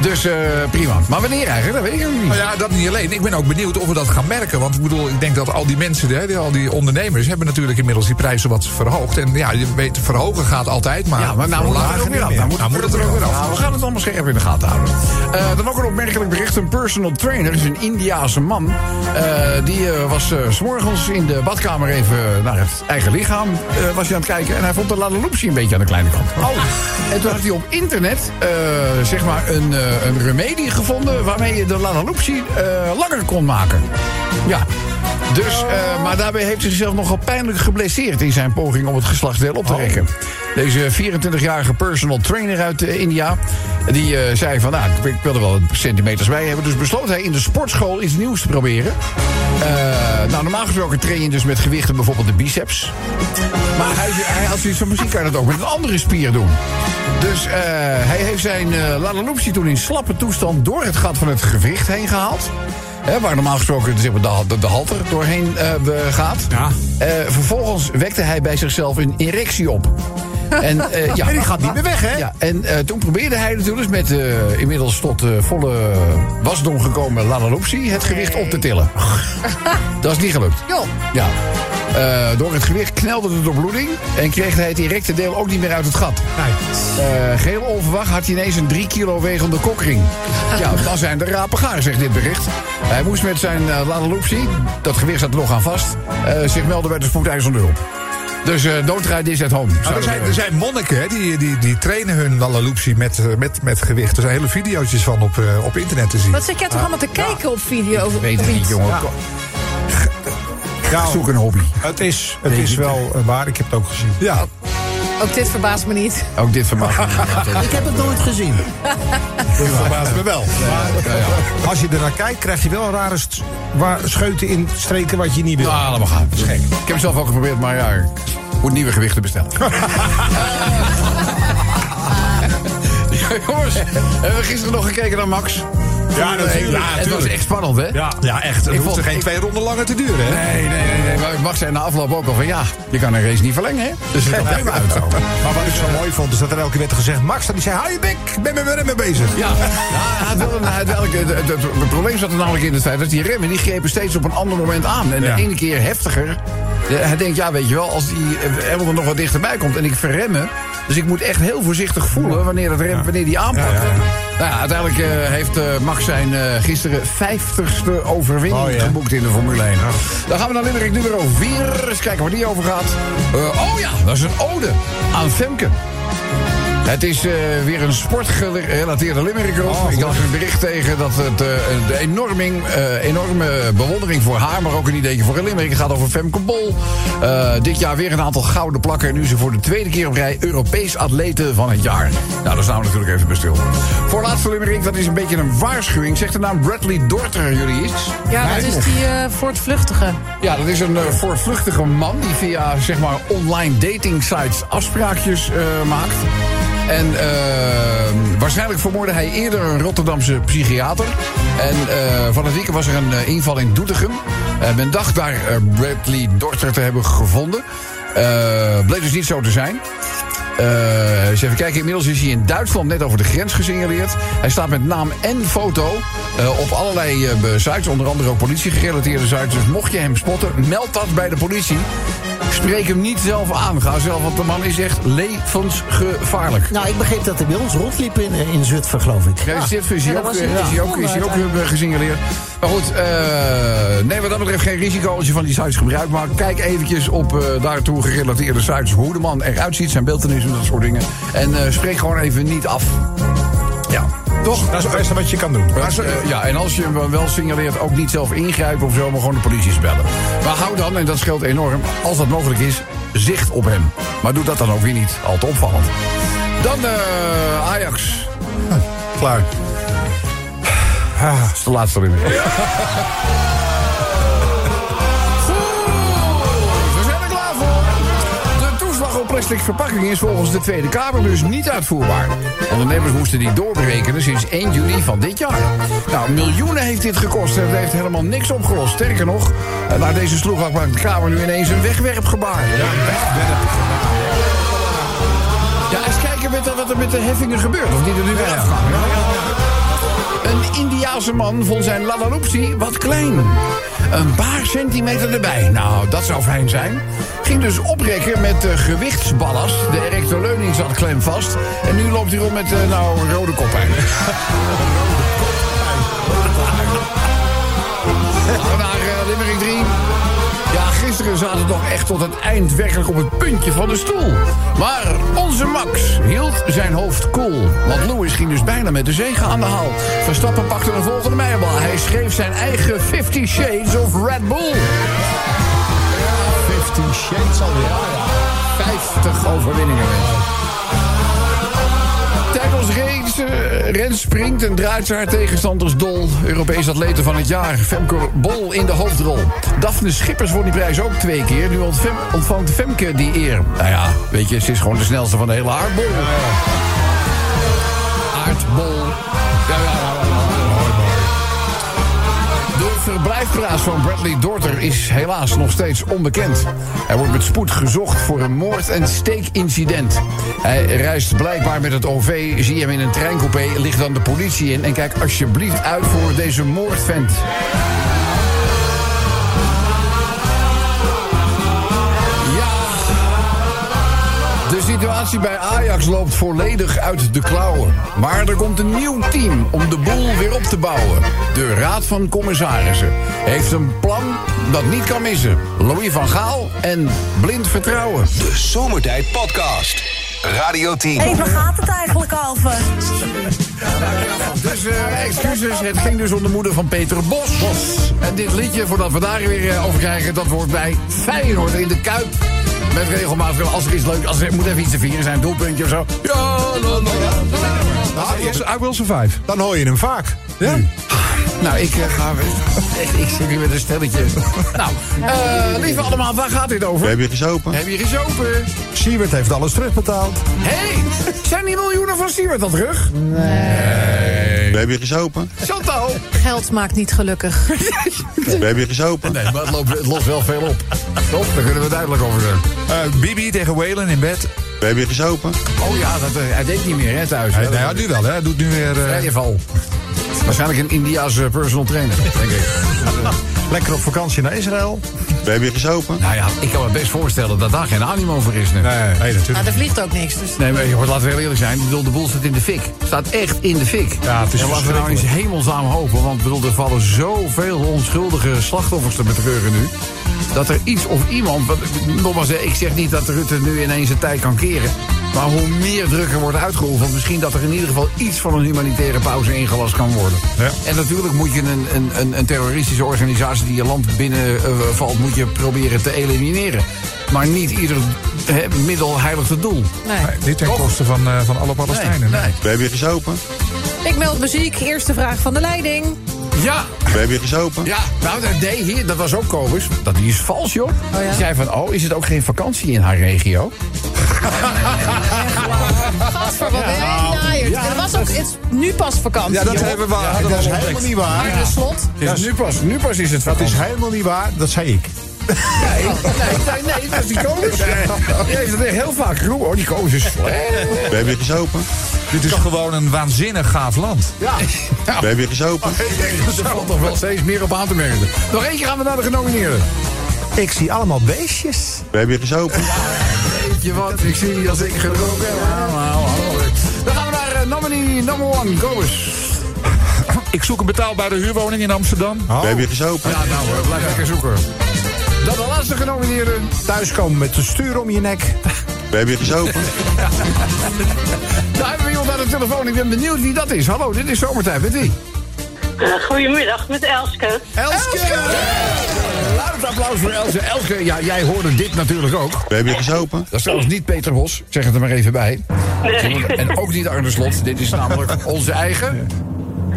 [SPEAKER 2] Dus eh, prima. Maar wanneer eigenlijk? Dat weet ik nog niet.
[SPEAKER 5] Nou ja, dat niet alleen. Ik ben ook benieuwd of we dat gaan merken. Want ik bedoel, ik denk dat al die mensen, hè, die- al die ondernemers... hebben natuurlijk inmiddels die prijzen wat verhoogd. En ja, je weet, verhogen gaat altijd, maar...
[SPEAKER 2] Ja, maar nou moet het er ook weer af. Nou moet, het er ook weer af. we gaan het allemaal scherp in de gaten houden. Eh, dan ook een opmerkelijk bericht. Een personal trainer is een Indiaanse man. Eh, die eh, was eh, s s'morgens in de badkamer even naar het eigen lichaam eh, was hij aan het kijken. En hij vond de Laloopsie een beetje aan de kleine kant. Oh. En toen had hij op internet eh, zeg maar een, eh, een remedie gevonden... waarmee je de Laloopsie eh langer kon maken. Ja. Dus, eh, maar daarbij heeft hij zichzelf nogal pijnlijk geblesseerd... in zijn poging om het geslachtsdeel op te rekken. Deze 24-jarige personal trainer uit eh, India... die eh, zei van, nou, ik, ik wil er wel wat centimeters bij hebben... dus besloot hij in de sportschool iets nieuws te proberen. Eh, nou, normaal gesproken train je dus met gewichten bijvoorbeeld de biceps... Maar hij, hij had zoiets van muziek kan je dat ook met een andere spier doen. Dus eh, hij heeft zijn eh Laloopsie toen in slappe toestand door het gat van het gewicht heen gehaald. Hè, waar normaal gesproken zeg maar, de, hal- de, de halter doorheen eh, be- gaat.
[SPEAKER 7] Ja.
[SPEAKER 2] Eh, vervolgens wekte hij bij zichzelf een erectie op. En, eh, ja,
[SPEAKER 7] En die gaat niet meer weg, hè?
[SPEAKER 2] Ja, en eh, toen probeerde hij natuurlijk met eh, inmiddels tot eh, volle wasdom gekomen Laloopsie het gewicht op te tillen. Dat is niet gelukt.
[SPEAKER 6] Joh.
[SPEAKER 2] Ja. Eh, door het gewicht knelde de doorbloeding en kreeg hij het directe deel ook niet meer uit het gat. Eh geheel onverwacht had hij ineens een 3 kilo wegende kokring. Ja, dan zijn de rapen gaar, zegt dit bericht. Hij moest met zijn eh laloopsie, dat gewicht zat er nog aan vast, eh, zich melden bij de spoedeisende hulp. Dus eh doodrijden is at
[SPEAKER 3] Oh,
[SPEAKER 2] home.
[SPEAKER 5] Maar er,
[SPEAKER 2] Zouden
[SPEAKER 5] zijn,
[SPEAKER 2] we-
[SPEAKER 5] er zijn monniken hè, die, die, die trainen hun Lalaloopsie met, eh, met, met gewicht. Er zijn hele video's van op, eh, op internet te zien.
[SPEAKER 6] Wat zit jij toch allemaal te kijken op video? Ik
[SPEAKER 2] weet het niet, jongen.
[SPEAKER 7] Zoek
[SPEAKER 2] een hobby.
[SPEAKER 7] Nou, Het is, het is wel eh, waar, ik heb het ook gezien.
[SPEAKER 5] Ja.
[SPEAKER 6] Ook dit verbaast me niet.
[SPEAKER 2] Ook dit vermaakt
[SPEAKER 4] Ik heb het nooit gezien.
[SPEAKER 5] Dat verbaast me wel.
[SPEAKER 7] Als je er naar kijkt, krijg je wel rare st- waar- scheuten in streken wat je niet wil.
[SPEAKER 2] Ah, laat maar gaan. Dat is gek. Ik heb het zelf ook geprobeerd, maar ja, ik moet nieuwe gewichten bestellen. ja, jongens, hebben we gisteren nog gekeken naar Max?
[SPEAKER 3] Ja, dat
[SPEAKER 2] Hele- Het was echt spannend, hè?
[SPEAKER 3] Ja, ja echt. Het
[SPEAKER 2] Ik
[SPEAKER 3] hoeft
[SPEAKER 2] vond-
[SPEAKER 3] er geen
[SPEAKER 2] ik-
[SPEAKER 3] twee ronden langer te duren, hè?
[SPEAKER 2] Nee, nee, nee, nee. Maar Max zei na afloop ook al van ja, je kan een race niet verlengen, hè? Dus het probleem uit zo.
[SPEAKER 7] Maar wat ik zo mooi vond, is dat er elke keer werd gezegd... Max, dat die zei, hou je bek, ik ben met mijn remmen bezig.
[SPEAKER 2] Ja, ja hij had wel een- hij had wel een- het, het- het- het probleem zat er namelijk in de tijd dat die remmen die grepen steeds op een ander moment aan. En
[SPEAKER 3] Ja.
[SPEAKER 2] de ene keer heftiger. Ja, Hij denkt, ja, weet je wel, als die eh, Hamilton nog wat dichterbij komt en ik verremmen. Dus ik moet echt heel voorzichtig voelen wanneer, dat rem, wanneer die aanpakt. Nou ja, uiteindelijk eh, heeft eh, Max zijn eh, gisteren 50ste overwinning
[SPEAKER 7] Mooi, hè?
[SPEAKER 2] geboekt in de Formule 1. Dan gaan we naar Limerick nummer 4. Eens kijken waar die over gaat. Eh, oh ja, dat is een ode aan Femke. Het is eh, weer een sportgerelateerde limerick erop. ik las een bericht tegen dat het eh, de enorming, eh, enorme bewondering voor haar... maar ook een ideetje voor een limerick. Het gaat over Femke Bol. Eh, dit jaar weer een aantal gouden plakken... en nu is ze voor de tweede keer op rij Europees atleten van het jaar. Nou, daar staan we natuurlijk even bij stil. Voor laatste limerick, dat is een beetje een waarschuwing. Zegt de naam Bradley Dorter jullie iets?
[SPEAKER 6] Ja, dat is die eh voortvluchtige.
[SPEAKER 2] Ja, dat is een eh, voorvluchtige man die via zeg maar, online dating sites afspraakjes eh, maakt. En eh, waarschijnlijk vermoordde hij eerder een Rotterdamse psychiater. En eh, van het weekend was er een eh, inval in Doetinchem. Eh, men dacht daar eh, Bradley Dorter te hebben gevonden. Eh, bleek dus niet zo te zijn. Eh, eens even kijken, inmiddels is hij in Duitsland net over de grens gesignaleerd. Hij staat met naam en foto eh, op allerlei eh, be- sites, onder andere ook politiegerelateerde sites. Dus mocht je hem spotten, meld dat bij de politie. Spreek hem niet zelf aan. Ga zelf, want de man is echt levensgevaarlijk.
[SPEAKER 4] Nou, ik begreep dat hij bij ons rondliep in, eh, in Zutphen, geloof ik.
[SPEAKER 2] Ja, dit is
[SPEAKER 6] Ja,
[SPEAKER 2] hij
[SPEAKER 6] dat
[SPEAKER 2] ook,
[SPEAKER 6] was
[SPEAKER 2] eh,
[SPEAKER 6] hij
[SPEAKER 2] is hij ook,
[SPEAKER 6] gevonden
[SPEAKER 2] is hij ook eh, gesignaleerd. Maar goed, eh, nee, wat dat betreft geen risico als je van die sites gebruik maakt. Kijk eventjes op eh, daartoe gerelateerde sites hoe de man eruit ziet, zijn beeldenis en dat soort dingen. En eh, spreek gewoon even niet af. Ja, toch?
[SPEAKER 7] Dat is het beste wat je kan doen.
[SPEAKER 2] Maar, eh, ja, en als je hem wel signaleert, ook niet zelf ingrijpen of zo, maar gewoon de politie bellen. Maar hou dan, en dat scheelt enorm, als dat mogelijk is, zicht op hem. Maar doe dat dan ook weer niet, al te opvallend. Dan eh, Ajax.
[SPEAKER 7] Klaar.
[SPEAKER 2] Dat is de laatste ring. Oeh, we zijn er klaar voor. De toeslag op plastic verpakking is volgens de Tweede Kamer dus niet uitvoerbaar. Ondernemers moesten die doorberekenen sinds 1 juli van dit jaar. Nou, miljoenen heeft dit gekost en het heeft helemaal niks opgelost. Sterker nog, eh, na deze sloegang maakt de Kamer nu ineens een wegwerpgebaar. Ja, eens kijken met de- wat er met de heffingen gebeurt. Of die er nu weer afgaan. Een Indiaanse man vond zijn lalaloopsie wat klein. Een paar centimeter erbij. Nou, dat zou fijn zijn. Ging dus oprekken met eh, gewichtsballast. De erecte leuning zat klemvast. En nu loopt hij rond met, eh, nou, rode kop Gaan we naar eh, Limerick 3. Ja, gisteren zaten we nog echt tot het eind werkelijk op het puntje van de stoel. Maar onze Max hield zijn hoofd koel. Want Lewis ging dus bijna met de zegen aan de haal. Verstappen pakte een volgende mijlpaal. Hij schreef zijn eigen 50 Shades of Red Bull. 50 Shades alweer. 50 overwinningen, mensen. Tijdens reeks, eh, Rens springt en draait ze haar tegenstanders dol. Europees atleten van het jaar, Femke Bol in de hoofdrol. Daphne Schippers won die prijs ook twee keer. Nu ontfem- ontvangt Femke die eer. Nou ja, weet je, ze is gewoon de snelste van de hele aardbol. Aardbol. Ja, ja, ja, ja, ja. De verblijfplaats van Bradley Dorter is helaas nog steeds onbekend. Hij wordt met spoed gezocht voor een moord- en steekincident. Hij reist blijkbaar met het OV, zie hem in een treincoupé, ligt dan de politie in... en kijk alsjeblieft uit voor deze moordvent. Ja, de situatie bij Ajax loopt volledig uit de klauwen. Maar er komt een nieuw team om de boel weer op te bouwen. De Raad van Commissarissen heeft een plan dat niet kan missen. Louis van Gaal en blind vertrouwen.
[SPEAKER 1] De Zomertijd Podcast. Radio 10.
[SPEAKER 8] Hé, waar gaat het eigenlijk over?
[SPEAKER 2] Dus eh, excuses, het ging dus om de moeder van Peter Bos. En dit liedje, voordat we daar weer eh, over krijgen, dat wordt bij Feyenoord in de Kuip. Met regelmatig, als er iets leuk, als er moet even iets te vieren zijn, doelpuntje of zo. Ja, la, la, la, la.
[SPEAKER 7] Ah, yes, I will survive. Dan hoor je hem vaak. Ja?
[SPEAKER 2] Nou, ik eh, ga weer. Echt, Ik zit hier met een stelletje. Nou, eh, lieve allemaal, waar gaat dit over?
[SPEAKER 9] Heb je gesopen?
[SPEAKER 2] Heb je gezopen?
[SPEAKER 7] Siewert heeft alles terugbetaald.
[SPEAKER 2] Hé, hey, zijn die miljoenen van Siewert al terug?
[SPEAKER 9] We hebben je gesopen?
[SPEAKER 2] Chantal!
[SPEAKER 6] Geld maakt niet gelukkig.
[SPEAKER 9] We hebben je gesopen?
[SPEAKER 2] Nee, maar het, loopt, het lost wel veel op. Toch? Daar kunnen we duidelijk over zijn.
[SPEAKER 5] Eh, Bibi tegen Whalen in bed.
[SPEAKER 9] We hebben je gesopen?
[SPEAKER 2] Oh ja, dat, eh, hij deed niet meer hè, thuis.
[SPEAKER 5] Nou ja, nu wel, hè. Hij doet nu weer... eh,
[SPEAKER 2] Vrije val. Waarschijnlijk een India's eh, personal trainer, denk ik.
[SPEAKER 7] Lekker op vakantie naar Israël.
[SPEAKER 9] We hebben je gesopen?
[SPEAKER 2] Nou ja, ik kan me best voorstellen dat daar geen animo voor is nu.
[SPEAKER 7] Nee,
[SPEAKER 6] Maar
[SPEAKER 7] natuurlijk.
[SPEAKER 6] er vliegt ook niks. Dus
[SPEAKER 2] Nee, maar joh, laten we heel eerlijk zijn. Ik bedoel, de boel staat in de fik. Staat echt in de fik.
[SPEAKER 7] Ja, het is
[SPEAKER 2] en laten we nou eens
[SPEAKER 7] verschrikkelijk.
[SPEAKER 2] hemelsnaam hopen. Want ik bedoel, er vallen zoveel onschuldige slachtoffers te betreuren nu. Dat er iets of iemand. want, Nogmaals, hè, ik zeg niet dat Rutte nu ineens zijn tijd kan keren. Maar hoe meer druk er wordt uitgeoefend, misschien dat er in ieder geval iets van een humanitaire pauze ingelast kan worden.
[SPEAKER 7] Ja.
[SPEAKER 2] En natuurlijk moet je een, een, een, een terroristische organisatie die je land binnenvalt, valt, moet je proberen te elimineren. Maar niet ieder hè, middel heiligt het doel.
[SPEAKER 6] nee.
[SPEAKER 5] Niet ten
[SPEAKER 2] Toch?
[SPEAKER 5] koste van, eh, van alle
[SPEAKER 2] Nee,
[SPEAKER 5] Palestijnen.
[SPEAKER 2] nee.
[SPEAKER 9] We hebben je gesopen?
[SPEAKER 6] Ik meld muziek. Eerste vraag van de leiding.
[SPEAKER 2] Ja,
[SPEAKER 9] We hebben je gesopen?
[SPEAKER 2] ja. Nou, dat, nee, hier, dat was ook komisch. Dat die is vals, joh.
[SPEAKER 6] ja?
[SPEAKER 2] Die zei van, oh, is het ook geen vakantie in haar regio?
[SPEAKER 6] Gadver, wat ben jij een naaier.
[SPEAKER 2] Ja,
[SPEAKER 6] Er was ook, het is nu pas vakantie.
[SPEAKER 7] Ja, dat
[SPEAKER 6] joh.
[SPEAKER 7] hebben we waar. dat is helemaal niet waar.
[SPEAKER 6] Maar de slot.
[SPEAKER 2] Dus nu, pas, nu pas is het
[SPEAKER 7] Dat is
[SPEAKER 2] vakantie.
[SPEAKER 7] helemaal niet waar. Dat zei ik.
[SPEAKER 2] Nee, nee, nee, nee, dat is die komisch. Die heeft het echt heel vaak geroepen. Oh, die komisch is slecht.
[SPEAKER 9] We hebben je gesopen?
[SPEAKER 5] Dit is gewoon een waanzinnig gaaf land.
[SPEAKER 2] Ja. Oh,
[SPEAKER 9] We hebben je gesopen?
[SPEAKER 2] Er valt toch wel steeds meer op aan te merken. Nog eentje gaan we naar de genomineerden.
[SPEAKER 7] Ik zie allemaal beestjes.
[SPEAKER 9] We hebben je gesopen?
[SPEAKER 2] Weet je wat, ik zie die als ik gedronken heb. Nou, nou, nou. Dan gaan we naar eh, nominee number one. Go eens.
[SPEAKER 5] Ik zoek een betaalbare huurwoning in Amsterdam.
[SPEAKER 9] We hebben je gesopen?
[SPEAKER 2] Ja, nou, eh, blijf lekker zoeken. Dan de laatste genomineerde.
[SPEAKER 7] Thuiskomen met de stuur om je nek.
[SPEAKER 9] We hebben je gesopen?
[SPEAKER 2] Daar hebben we iemand aan de telefoon. Ik ben benieuwd wie dat is. Hallo, dit is Zomertijd. Met wie?
[SPEAKER 11] Eh, goedemiddag, met Elske.
[SPEAKER 2] Elske! Laat het applaus voor Elske. Elske, ja, jij hoorde dit natuurlijk ook.
[SPEAKER 9] We hebben je gesopen?
[SPEAKER 2] Dat is trouwens niet Peter Bos. Ik Zeg het er maar even bij.
[SPEAKER 11] Nee.
[SPEAKER 2] En ook niet Arne Slot. Dit is namelijk onze eigen...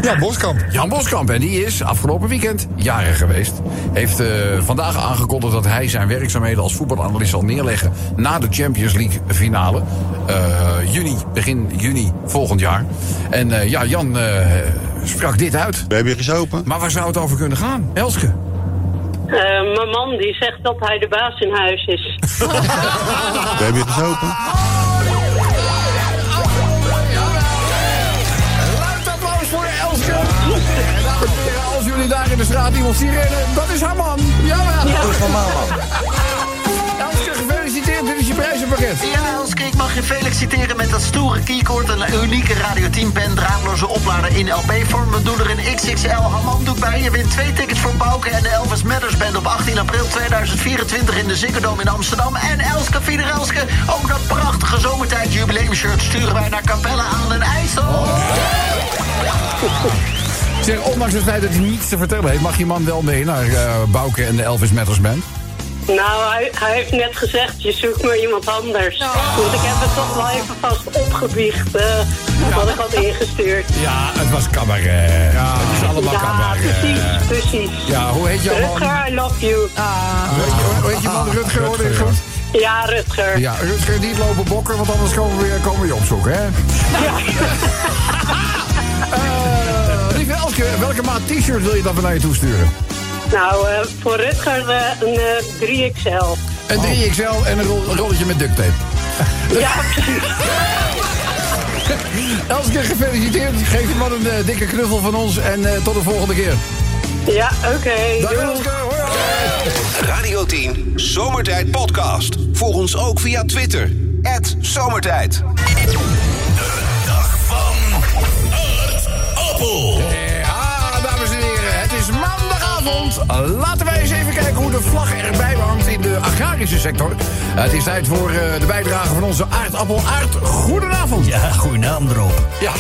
[SPEAKER 7] Ja, Boskamp.
[SPEAKER 2] Jan Boskamp. En die is afgelopen weekend jarig geweest. Heeft eh, vandaag aangekondigd dat hij zijn werkzaamheden als voetbalanalist zal neerleggen na de Champions League finale. Eh, juni, begin juni volgend jaar. En eh, ja, Jan eh, sprak dit uit.
[SPEAKER 9] We hebben je gesopen?
[SPEAKER 2] Maar waar zou het over kunnen gaan? Elske.
[SPEAKER 11] Eh, mijn man die zegt dat hij de baas in huis is.
[SPEAKER 9] We hebben je gesopen?
[SPEAKER 2] Luid applaus voor Elske. En dames en heren, als jullie daar in de straat iemand zien rennen, dat is haar man. Jawel. Dat is van man. Elske, gefeliciteerd. Dit is je prijzenpakket.
[SPEAKER 4] Ja, Elske, ik mag je feliciteren met dat stoere keycord... en een unieke Radio 10-pen draadloze oplader in LP-vorm. We doen er een XXL Hamandoek bij. Je wint twee tickets voor Bouke en de Elvis Matters Band... op 18 april 2024 in de Ziggo Dome in Amsterdam. En Elske, Fieder Elske, ook dat prachtige zomertijd jubileumshirt... sturen wij naar Capelle aan den IJssel.
[SPEAKER 2] Zeg, ondanks het feit dat hij niets te vertellen heeft, mag je man wel mee naar eh Bouke en de Elvis Matters Band.
[SPEAKER 11] Nou, hij, hij heeft net gezegd, je zoekt maar iemand anders. Want ik heb het toch wel even vast opgebiecht eh, wat ik had ingestuurd.
[SPEAKER 2] Ja, het was cabaret. Ja, het is allemaal
[SPEAKER 11] Ja, precies, precies.
[SPEAKER 2] Ja, hoe heet jouw man?
[SPEAKER 11] Rutger, I love you.
[SPEAKER 2] Weet je- Hoe heet je man Rutger? hoorde ik goed?
[SPEAKER 11] Ja, Rutger.
[SPEAKER 2] Ja, Rutger, niet lopen bokken, want anders komen we, komen we je opzoeken, hè? Eh, lieve Elske, welke maat t-shirt wil je dat we naar je toe sturen?
[SPEAKER 11] Nou, eh, voor Rutger eh, een eh, 3XL.
[SPEAKER 2] Een 3XL en een rol- een rolletje met duct tape.
[SPEAKER 11] Ja, precies.
[SPEAKER 2] Elske, gefeliciteerd. Geef je man een eh, dikke knuffel van ons en eh, tot de volgende keer.
[SPEAKER 11] Ja, oké.
[SPEAKER 2] Dag
[SPEAKER 11] doei.
[SPEAKER 2] Elske, hoi, hoi.
[SPEAKER 1] Radio 10 Zomertijd Podcast. Volg ons ook via Twitter. Het Zomertijd.
[SPEAKER 2] Ah, Ja, dames en heren, het is maandagavond. Goedenavond. Laten wij eens even kijken hoe de vlag erbij hangt in de agrarische sector. Het is tijd voor eh, de bijdrage van onze aardappel Aard. Goedenavond.
[SPEAKER 12] Ja, goede naam erop.
[SPEAKER 2] Ja.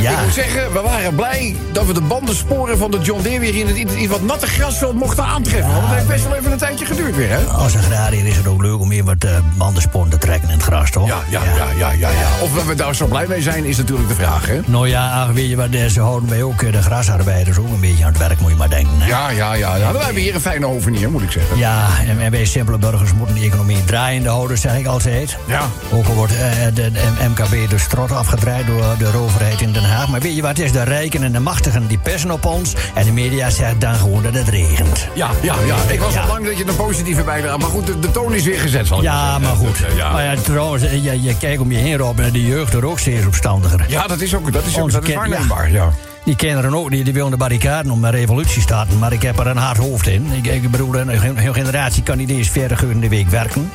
[SPEAKER 12] Ja.
[SPEAKER 2] Ik moet zeggen, we waren blij dat we de bandensporen van de John Deere weer in het in het wat natte grasveld mochten aantreffen. Want Oh, het heeft best wel even een tijdje geduurd weer, hè?
[SPEAKER 12] Als agrariër is het ook leuk om weer wat eh, bandensporen te trekken in het gras, toch?
[SPEAKER 2] Ja, ja, ja, ja, ja, ja. Of we daar zo blij mee zijn, is natuurlijk de vraag, hè?
[SPEAKER 12] Nou ja, ach, weet je wat, eh, ze houden wij ook eh, de grasarbeiders ook een beetje aan het werk, moet je maar denken. hè.
[SPEAKER 2] Ja, ja, ja. ja. We hebben hier een fijne oven hier, moet ik zeggen.
[SPEAKER 12] Ja, en, en wij simpele burgers moeten de economie draaiende houden, zeg ik altijd.
[SPEAKER 2] Ja.
[SPEAKER 12] Ook al wordt eh, de, de M- MKB dus strot afgedraaid door de overheid in Den Haag. Maar weet je wat het is? De rijken en de machtigen die persen op ons. En de media zegt dan gewoon dat het regent.
[SPEAKER 2] Ja, ja, ja. Ik was al lang dat je een positieve bijdrage... Maar goed, de, de toon is weer gezet, zal ik
[SPEAKER 12] Ja, maar goed. Maar ja, trouwens, eh, je, je kijkt om je heen, Rob, en de jeugd wordt ook steeds opstandiger.
[SPEAKER 2] Ja, dat is ook, dat is ook
[SPEAKER 12] Onze
[SPEAKER 2] dat is
[SPEAKER 12] kind-
[SPEAKER 2] waarneembaar, ja.
[SPEAKER 12] Die kinderen ook, die, die willen de barricaden om een revolutie te starten. Maar ik heb er een hard hoofd in. Ik, ik bedoel, een heel- heel generatie kan niet eens 40 uur in de week werken.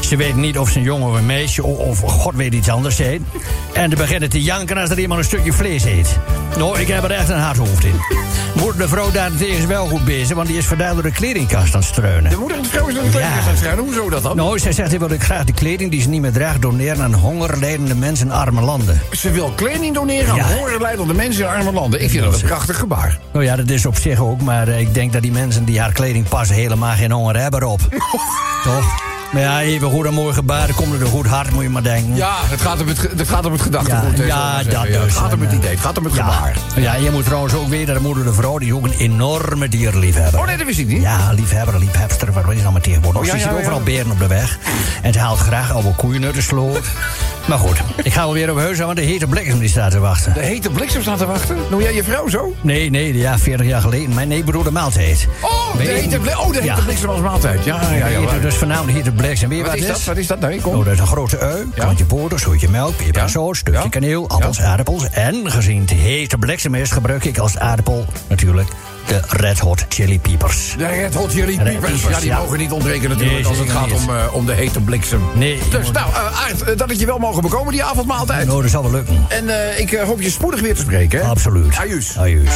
[SPEAKER 12] Ze weten niet of ze een jongen of een meisje o- of, god weet iets anders zijn. En ze beginnen te janken als er iemand een stukje vlees eet. Nou, ik heb er echt een hard hoofd in. Moeder de vrouw daarentegen is wel goed bezig, want die is vandaag door de kledingkast aan het streunen.
[SPEAKER 2] De moeder en de vrouw is door de kledingkast aan het streunen? Hoezo dat dan?
[SPEAKER 12] Nou, zij zegt, ik wil ik graag de kleding die ze niet meer draagt doneren aan hongerlijdende mensen in arme landen.
[SPEAKER 2] Ze wil kleding doneren aan
[SPEAKER 12] Ja.
[SPEAKER 2] hongerlijdende mensen in arme landen. Ik vind dat een prachtig gebaar.
[SPEAKER 12] Nou ja, dat is op zich ook, maar eh, ik denk dat die mensen die haar kleding passen helemaal geen honger hebben op. Toch? Maar ja, even goed een mooi gebaar, komt er een goed hart, moet je maar denken.
[SPEAKER 2] Ja, het gaat om het, ge- het, gaat om het gedachtegoed. hè,
[SPEAKER 12] Ja,
[SPEAKER 2] zullen we
[SPEAKER 12] ja,
[SPEAKER 2] maar
[SPEAKER 12] dat
[SPEAKER 2] zeggen.
[SPEAKER 12] dus.
[SPEAKER 2] Het gaat om het
[SPEAKER 12] En, eh,
[SPEAKER 2] idee, het gaat om het
[SPEAKER 12] Ja.
[SPEAKER 2] gebaar.
[SPEAKER 12] ja, je moet trouwens ook weten dat moeder de vrouw die is ook een enorme dierliefhebber.
[SPEAKER 2] Oh nee, dat wist ik niet.
[SPEAKER 12] Ja, liefhebber, liefhebster, wat is het nou maar tegenwoordig?
[SPEAKER 2] Oh, ja,
[SPEAKER 12] ze ziet
[SPEAKER 2] ja, ja.
[SPEAKER 12] overal beren op de weg. En ze haalt graag oude koeien uit de sloot. maar goed, ik ga alweer op huis aan, want de hete bliksem die staat te wachten.
[SPEAKER 2] De hete bliksem staat te wachten.
[SPEAKER 12] Nou,
[SPEAKER 2] Noem jij je vrouw zo?
[SPEAKER 12] Nee, nee, ja, 40 jaar geleden. Mijn nee, broer de maaltijd.
[SPEAKER 2] Oh, de
[SPEAKER 12] Weet je-
[SPEAKER 2] hete, blik- oh, de hete
[SPEAKER 12] Ja.
[SPEAKER 2] bliksem als maaltijd. Ja, ja, ja.
[SPEAKER 12] Heet het
[SPEAKER 2] waar.
[SPEAKER 12] dus vanavond hier de Blacks. En weet je
[SPEAKER 2] Wat
[SPEAKER 12] wat,
[SPEAKER 2] is
[SPEAKER 12] het
[SPEAKER 2] dat? Wat is dat? Nee, kom.
[SPEAKER 12] Oh, dat is een grote ui, kantje boter, soortje melk, peperzout, stukje kaneel, appels, aardappels. En gezien het hete bliksem is, gebruik ik als aardappel natuurlijk de Red Hot Chili Peppers.
[SPEAKER 2] De Red Hot Chili
[SPEAKER 12] Red
[SPEAKER 2] Peppers. Ja,
[SPEAKER 12] Peppers,
[SPEAKER 2] die
[SPEAKER 12] ja.
[SPEAKER 2] mogen niet ontbreken natuurlijk
[SPEAKER 12] Nee,
[SPEAKER 2] als het
[SPEAKER 12] zeker
[SPEAKER 2] gaat om,
[SPEAKER 12] niet.
[SPEAKER 2] eh, om de hete bliksem.
[SPEAKER 12] Nee, je
[SPEAKER 2] Dus
[SPEAKER 12] moet-
[SPEAKER 2] nou, eh, Aart, eh, dat het je wel mogen bekomen die avondmaaltijd.
[SPEAKER 12] Nou, dat zal wel lukken.
[SPEAKER 2] En eh, ik eh, hoop je spoedig weer te spreken. Hè?
[SPEAKER 12] Absoluut.
[SPEAKER 2] Ajuus.
[SPEAKER 12] Ajuus.